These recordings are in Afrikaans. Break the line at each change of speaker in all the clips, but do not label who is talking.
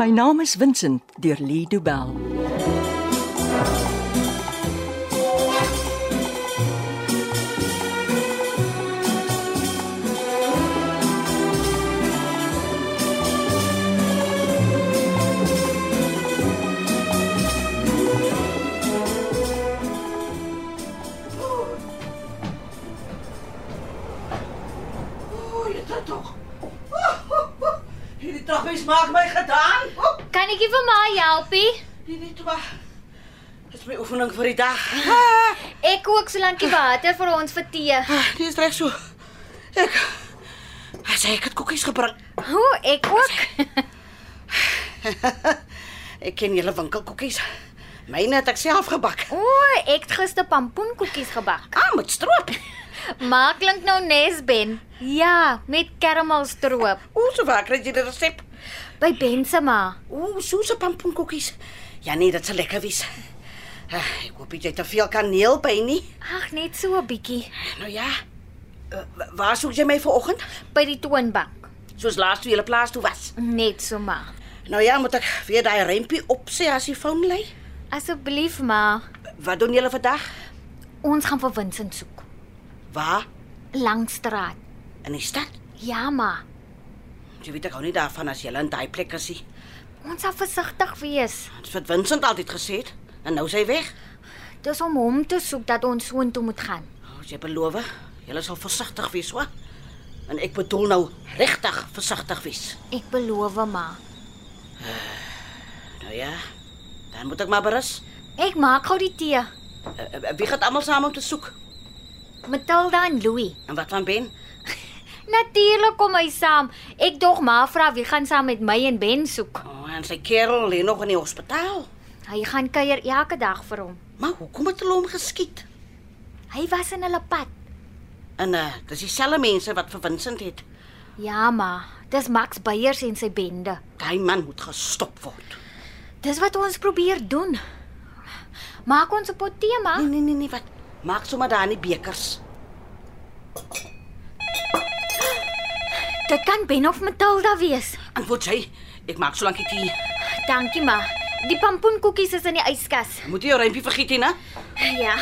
My naam is Vincent deur Lee Du Bell.
Oei, dit is tog. Hierdie trappies maak my gedaan. Oh,
Kan ek jou vir my helpie?
Hierdie trap. Dit is my oefening vir die dag.
Ek kook so lankie water vir ons vir tee.
Dit Ah, is reg so. Ek As ek het koekies gebring.
O, ek ook.
ek ken julle winkelkoekies. Myne het ek self gebak.
O, ek het gister pampoenkoekies gebak.
Ah, met stroop.
Maar klink nou nes Ben. Ja, met karamelstroop
Ooh, so waar kry jy die resep?
by Ben se ma.
Ooh, souse pampoenkoekies. Ja nee, dit sal lekker wees. Ah, Ek hoop jy het te veel kaneel by nie.
Ag, net so 'n bietjie
Nou ja. Eh, wa- Waar soek jy my vanoggend?
by die toonbank.
Soos laas toe jy op plaas toe was.
Net so maar.
Nou ja, moet ek weer daai rempie opsê as die foon lê.
Asseblief ma,
Wat doen julle vandag?
ons gaan vir Vincent soek.
Waar?
Langstraat.
In die stad?
Ja ma,
Jy weet ek hou nie daarvan as julle in daai plek is nie.
ons sal versigtig wees.
Dit is wat Vincent altyd gesê het en nou is hy weg.
Dis om hom te soek dat ons soontoe moet gaan.
Oh, jy beloof, julle sal versigtig wees, hoor. En ek bedoel nou regtig versigtig wees.
Ek beloof ma.
Nou ja, dan moet ek maar berus.
Ek maak gou die tee.
Eh, eh, Wie gaan almal saam om te soek?
Matilda en Louis.
En wat van Ben?
Natuurlik kom hy saam. Ek dog ma vra wie gaan saam met my en Ben soek.
Oh, en sy kerel lê nog in die hospitaal.
Hy gaan kuier elke dag vir hom.
Maar hoekom het hulle hom geskiet?
Hy was in hulle pad.
En uh, dis dieselfde mense wat vir Vincent het.
Ja ma, dis Max Beyers en sy bende.
Daai man moet gestop word.
Dis wat ons probeer doen. Maak ons 'n pot tee ma.
Nee nee nee, nee wat? Maak sommer daar in die bekers.
Dit kan Ben of Matilda wees.
Antwoord sy. Ek maak so lank ek hier.
Dankie ma. Die pampoenkoekies is in die yskas.
Moet jy jou rympie vergiet hè, né?
Ja.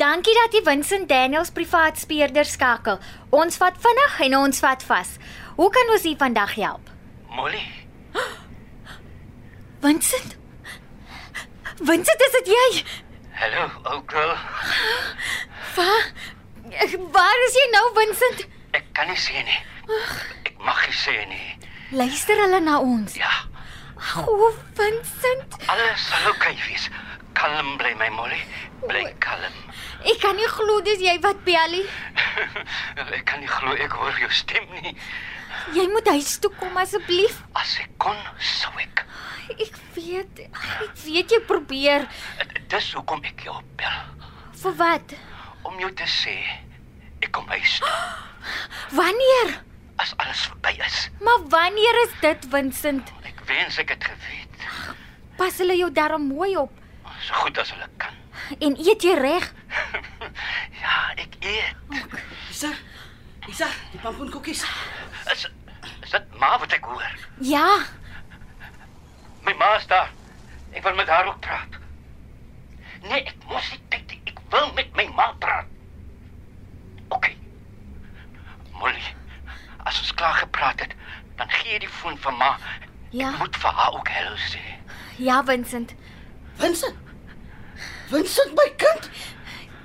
Dankie dat jy Vincent Daniels privaat speurder skakel. Ons vat vinnig en ons vat vas. Hoe kan ons u vandag help?
Molly,
Vincent? Vincent, is dit jy?
hallo ou girl.
Waar? Waar is jy nou, Vincent?
Ek kan nie sien nie. Ek mag nie sien nie.
Luister hulle na ons.
Ja,
O, Vincent,
alles sal oukei wees. Kalm bly my Molly, bly kalm.
ek kan nie glo dis jy wat bel nie.
ek kan nie glo ek hoor jou stem nie.
Jy moet huis toe kom asseblief.
As ek kon sou ek.
Ek weet, ek weet jy probeer.
Dis hoekom ek jou bel
Vir wat?
om jou te sê ek kom huis toe
Wanneer?
as alles verby is.
Maar wanneer is dit, Vincent?
Ek wens ek het geweet.
Pas hulle jou darm mooi op
So goed as hulle kan.
en eet jy reg?
ja, ek eet.
Isa. Isa, die pampoenkoekies.
Is is dit maar wat ek hoor?
Ja,
My ma is daar. Ek wil met haar ook praat. Nee, ek mos nie kyk nie. Ek wil met my ma praat. OK. Molly, as ons klaar gepraat het, dan gee jy die foon vir ma.
Ja.
Ek moet vir haar ook hallo sê.
ja Vincent.
Vincent. Vincent my kind.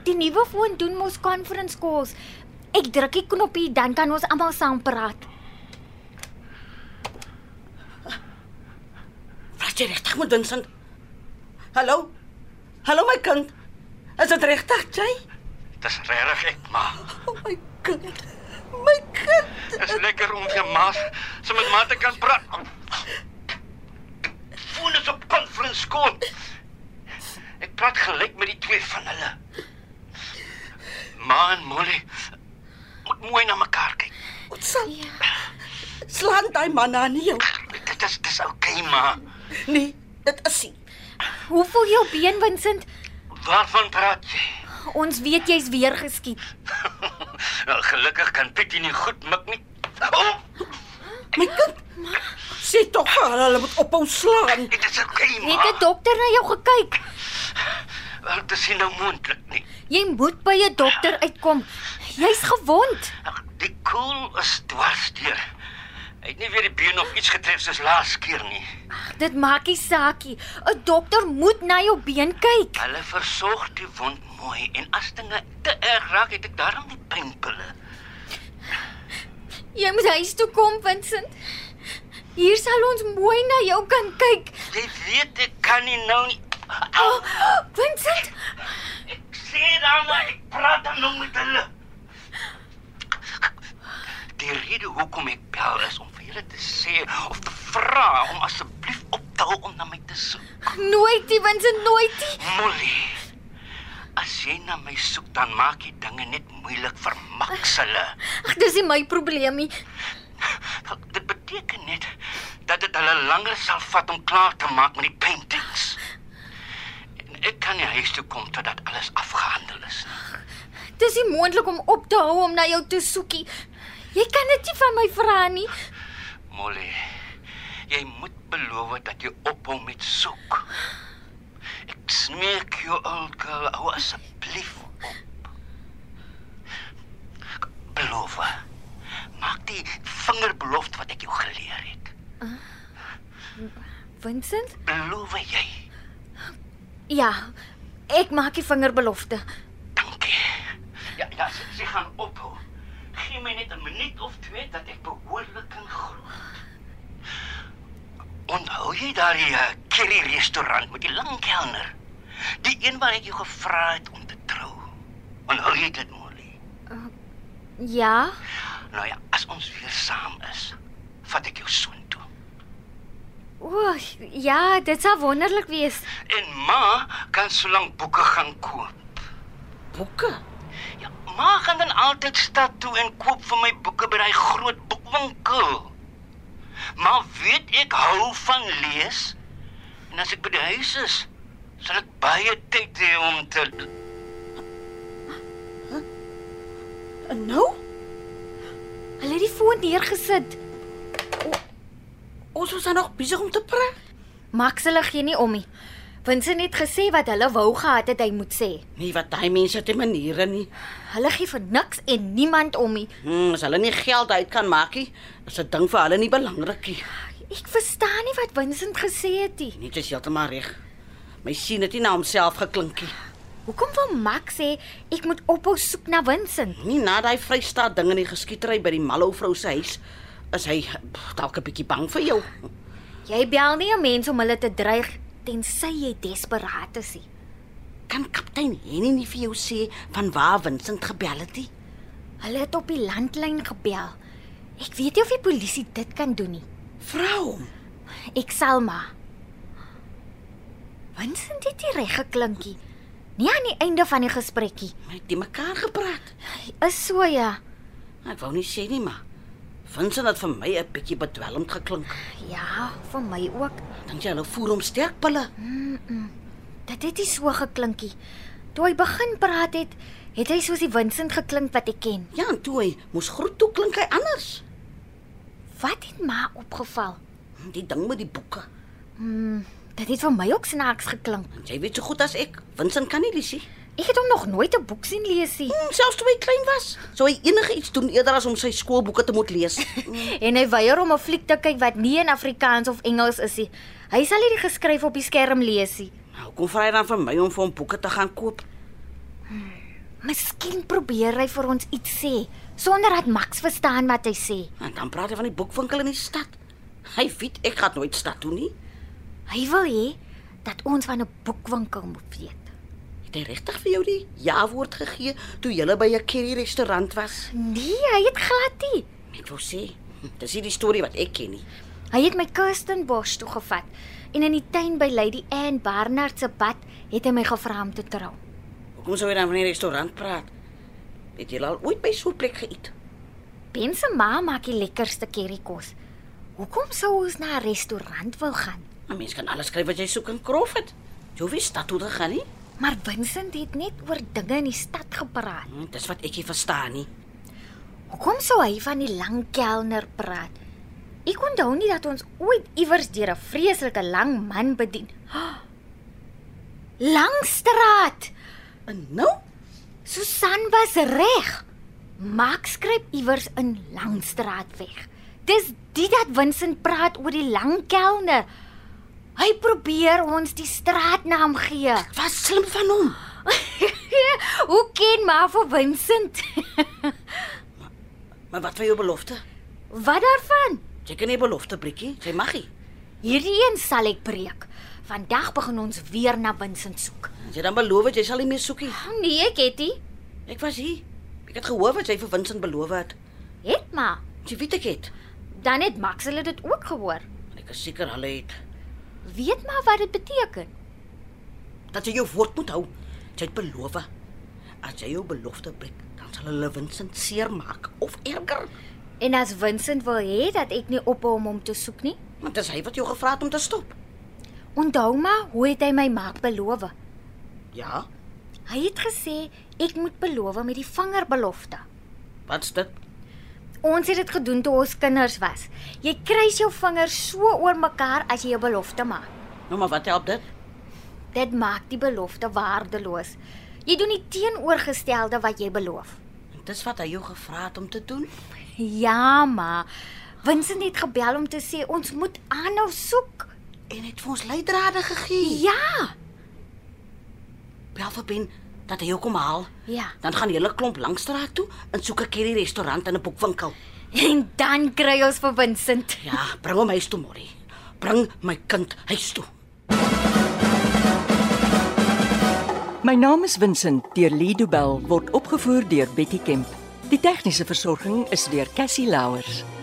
Die nuwe foon doen mos conference calls. Ek druk die knoppie dan kan ons almal saam praat.
Praat jy regtig met Vincent? Hallo. Hallo my kind. Is dit regtig jy?
Dis regtig ek, ma.
Oh my kind. My kind.
Dis lekker om vir ma so met ma te kan praat. Foon is op conference call. Ek praat gelyk met die twee van hulle. Ma en Molly moet mooi na mekaar kyk.
Wat sal? Slaan daai man aan nie. jou.
Dit is dis okay, ma.
Nee, dit is nie.
Hoe voel jou been, Vincent?
Waarvan praat jy?
Ons weet jy's weer geskiet.
nou, gelukkig kan Pietie nie goed mik nie. Oh,
My kind, Sê tog vir hulle, hulle moet ophou slaan.
Dit is oké, okay, ma.
Het 'n dokter na jou gekyk?
Wel, dit is nie nou moontlik nie.
Jy moet by 'n dokter uitkom. Jy's gewond.
Die koel is dwars deur. Hy het nie weer die been of iets getref soos laas keer nie.
Dit maak nie saak nie. 'n Dokter moet na jou been kyk.
Hulle versorg die wond mooi en as dinge te erg raak, het ek daarom die pynpille.
Jy moet huis toe kom, Vincent. Hier sal ons mooi na jou kan kyk.
Jy weet ek kan nie nou nie.
Oh, Vincent,
Ek sê dan maar ek praat dan nog met hulle. Die rede hoekom ek bel is om vir julle te sê of te vra om asseblief op te hou om na my te soek.
nooit die Vincent nooit die.
Molly. As jy na my soek, dan maak jy dinge net moeilik vir Max hulle.
Ag, dis nie my probleem nie.
Dit beteken net dat dit hulle langer sal vat om klaar te maak met die paintings. En ek kan nie huis toe kom totdat alles afgehandel is nie.
Dis nie moontlik om op te hou om na jou te soekie. Jy kan dit nie van my vra nie.
Molly, jy moet beloof dat jy ophou met soek. Ek smeek jou, old girl, hou asseblief op. Beloof. Maak die vingerbelofte wat ek jou geleer het.
Vincent?
Beloof jy?
Ja, ek maak die vingerbelofte.
Dankie. Ja, ja, sy, sy gaan ophou. Gee my net 'n minuut of twee dat ek behoorlik kan groei. Onthou jy daardie uh, curry restaurant met die lang kelner? Die een waar ek jou gevra het om te trou. Onthou jy dit, Molly?
Ja,
Nou ja, as ons weer saam is, vat ek jou soontoe.
o, ja, dit sal wonderlik wees.
En ma kan solank boeke gaan koop.
Boeke.
Ja, ma gaan dan altyd stad toe en koop vir my boeke by daai groot boekwinkel. Maar weet ek hou van lees. En as ek by die huis is, sal ek baie tyd hê om te
En nou?
Hulle het die foon neergesit.
Ons was dan nog besig om te praat.
Max hulle gee nie om nie. Vincent het gesê wat hulle wou gehad het hy moet sê.
Nie Nee, wat daai mense te maniere nie.
Hulle gee vir niks en niemand om nie.
Hmm, as hulle nie geld uit kan maak nie, is dit ding vir hulle nie belangrik nie.
Ek verstaan nie wat Vincent gesê het nie.
Net is heeltemal reg. My sien het nie na homself geklinkie.
Hoekom wil Max sê ek moet ophou soek na Vincent?
Nie na daai Vrystaat ding in die geskietery by die Mallow vrou se huis is hy pff, dalk 'n bietjie bang vir jou.
Jy bel nie 'n mens om hulle te dreig tensy jy desperaat is nie.
Kan kaptein Henny nie vir jou sê van waar Vincent gebel het nie?
Hulle het op die landlyn gebel. Ek weet nie of die polisie dit kan doen nie.
Vra hom.
Ek sal maar. Vincent het die reg geklinkie. Nie aan die einde van die gesprekkie.
Hy het die mekaar gepraat.
Is so ja.
Ek wou nie sê nie, maar Vincent het vir my 'n bietjie bedwelmend geklink.
Ja, vir my ook.
Dink jy hulle voer hom sterk pille?
Dit het nie so geklinkie. Toe hy begin praat het, het hy soos die Vincent geklink wat ek ken.
Ja, en toe hy moes groet toe klink hy anders.
Wat het ma opgeval?
Die ding met die boeke.
Hmm, dit het vir my ook snaaks geklink.
En jy weet so goed as ek, Vincent kan nie lesie.
Ek het hom nog nooit 'n boek sien lees nie
Hmm, selfs toe hy klein was, sou hy enige iets doen eerder as om sy skoolboeke te moet lees.
en hy weier om 'n fliek te kyk wat nie in Afrikaans of Engels is nie. Hy sal nie die geskryf op die skerm lees nie.
nou kom vra hy dan vir my om vir hom boeke te gaan koop.
Miskien probeer hy vir ons iets sê sonder dat Max verstaan wat hy sê.
En dan praat hy van die boekwinkel in die stad. Hy weet ek gaan nooit stad toe nie.
Hy wil hê dat ons van 'n boekwinkel moet weet.
Het hy regtig vir jou die ja-woord gegee toe jy by 'n curry restaurant was?
Nee, hy het glad nie.
Ek wou sê, hm, dis nie die storie wat ek ken nie.
Hy het my Kirsten Bosch toe gevat en in die tuin by Lady Anne Barnard se bad het hy my gevra om te trou.
Hoekom sou hy dan van die restaurant praat? Het jy al ooit by so 'n plek geëet?
Ben se ma maak die lekkerste currykos. Hoekom sou ons na 'n restaurant wil gaan?
'n Mens kan alles skryf wat jy soek in Crawford. Jy hoef nie stad toe te gaan nie.
Maar Vincent het net oor dinge in die stad gepraat.
Hm, dis wat ek nie verstaan nie.
Hoekom sou hy van die lang kelner praat? Ek onthou nie dat ons ooit iewers deur 'n vreeslike lang man bedien. Langstraat.
En nou?
Susan was reg. Max skryf iewers in Langstraat weg. Dis dit dat Vincent praat oor die lang kelne. Hy probeer ons die straatnaam gee.
Wat slim van hom.
Hoe ken maar vir Vincent?
Maar wat was jou belofte?
Wat daarvan?
Jy kan nie belofte breekie. Jy mag nie.
Hierdie een sal ek breek. Vandag begin ons weer na Vincent soek.
As Jy dan beloof het, jy sal nie meer soekie.
Nee, Ketty.
Ek was hier. Ek het gehoor wat jy vir Vincent beloof het.
Het maar.
Jy weet ek het.
Dan het Max hulle dit ook gehoor.
En Ek is seker hulle het
Weet maar wat dit beteken.
dat jy jou woord moet hou. Jy het beloof. As jy jou belofte breek, dan sal hulle Vincent seermaak of erger.
En as Vincent wil hê dat ek nie ophou om hom te soek nie,
Want dit is hy wat jou gevra het om te stop.
onthou maar hoe het hy my maak beloof.
Ja.
Hy het gesê ek moet beloof met die vingerbelofte.
Wat's dit?
Ons het dit gedoen toe ons kinders was. Jy kruis jou vingers so oor mekaar as jy 'n belofte maak.
Nou maar wat help dit?
Dit maak die belofte waardeloos. Jy doen die teenoorgestelde wat jy beloof.
En dis wat hy jou gevra het om te doen.
Ja, ma. Vincent het gebel om te sê ons moet aanhou soek.
En het vir ons leidrade gegee.
Ja.
Bel vir Ben dat hy jou kom haal.
Ja.
Dan gaan julle klomp langs straat toe en soek 'n curry restaurant en 'n boekwinkel.
En dan kry ons vir Vincent.
Ja, bring hom huis toe, Morrie. Bring my kind huis toe.
My naam is Vincent deur Lee Du Bell word opgevoer deur Betty Kemp. Die tegniese versorging is deur Cassie Louers.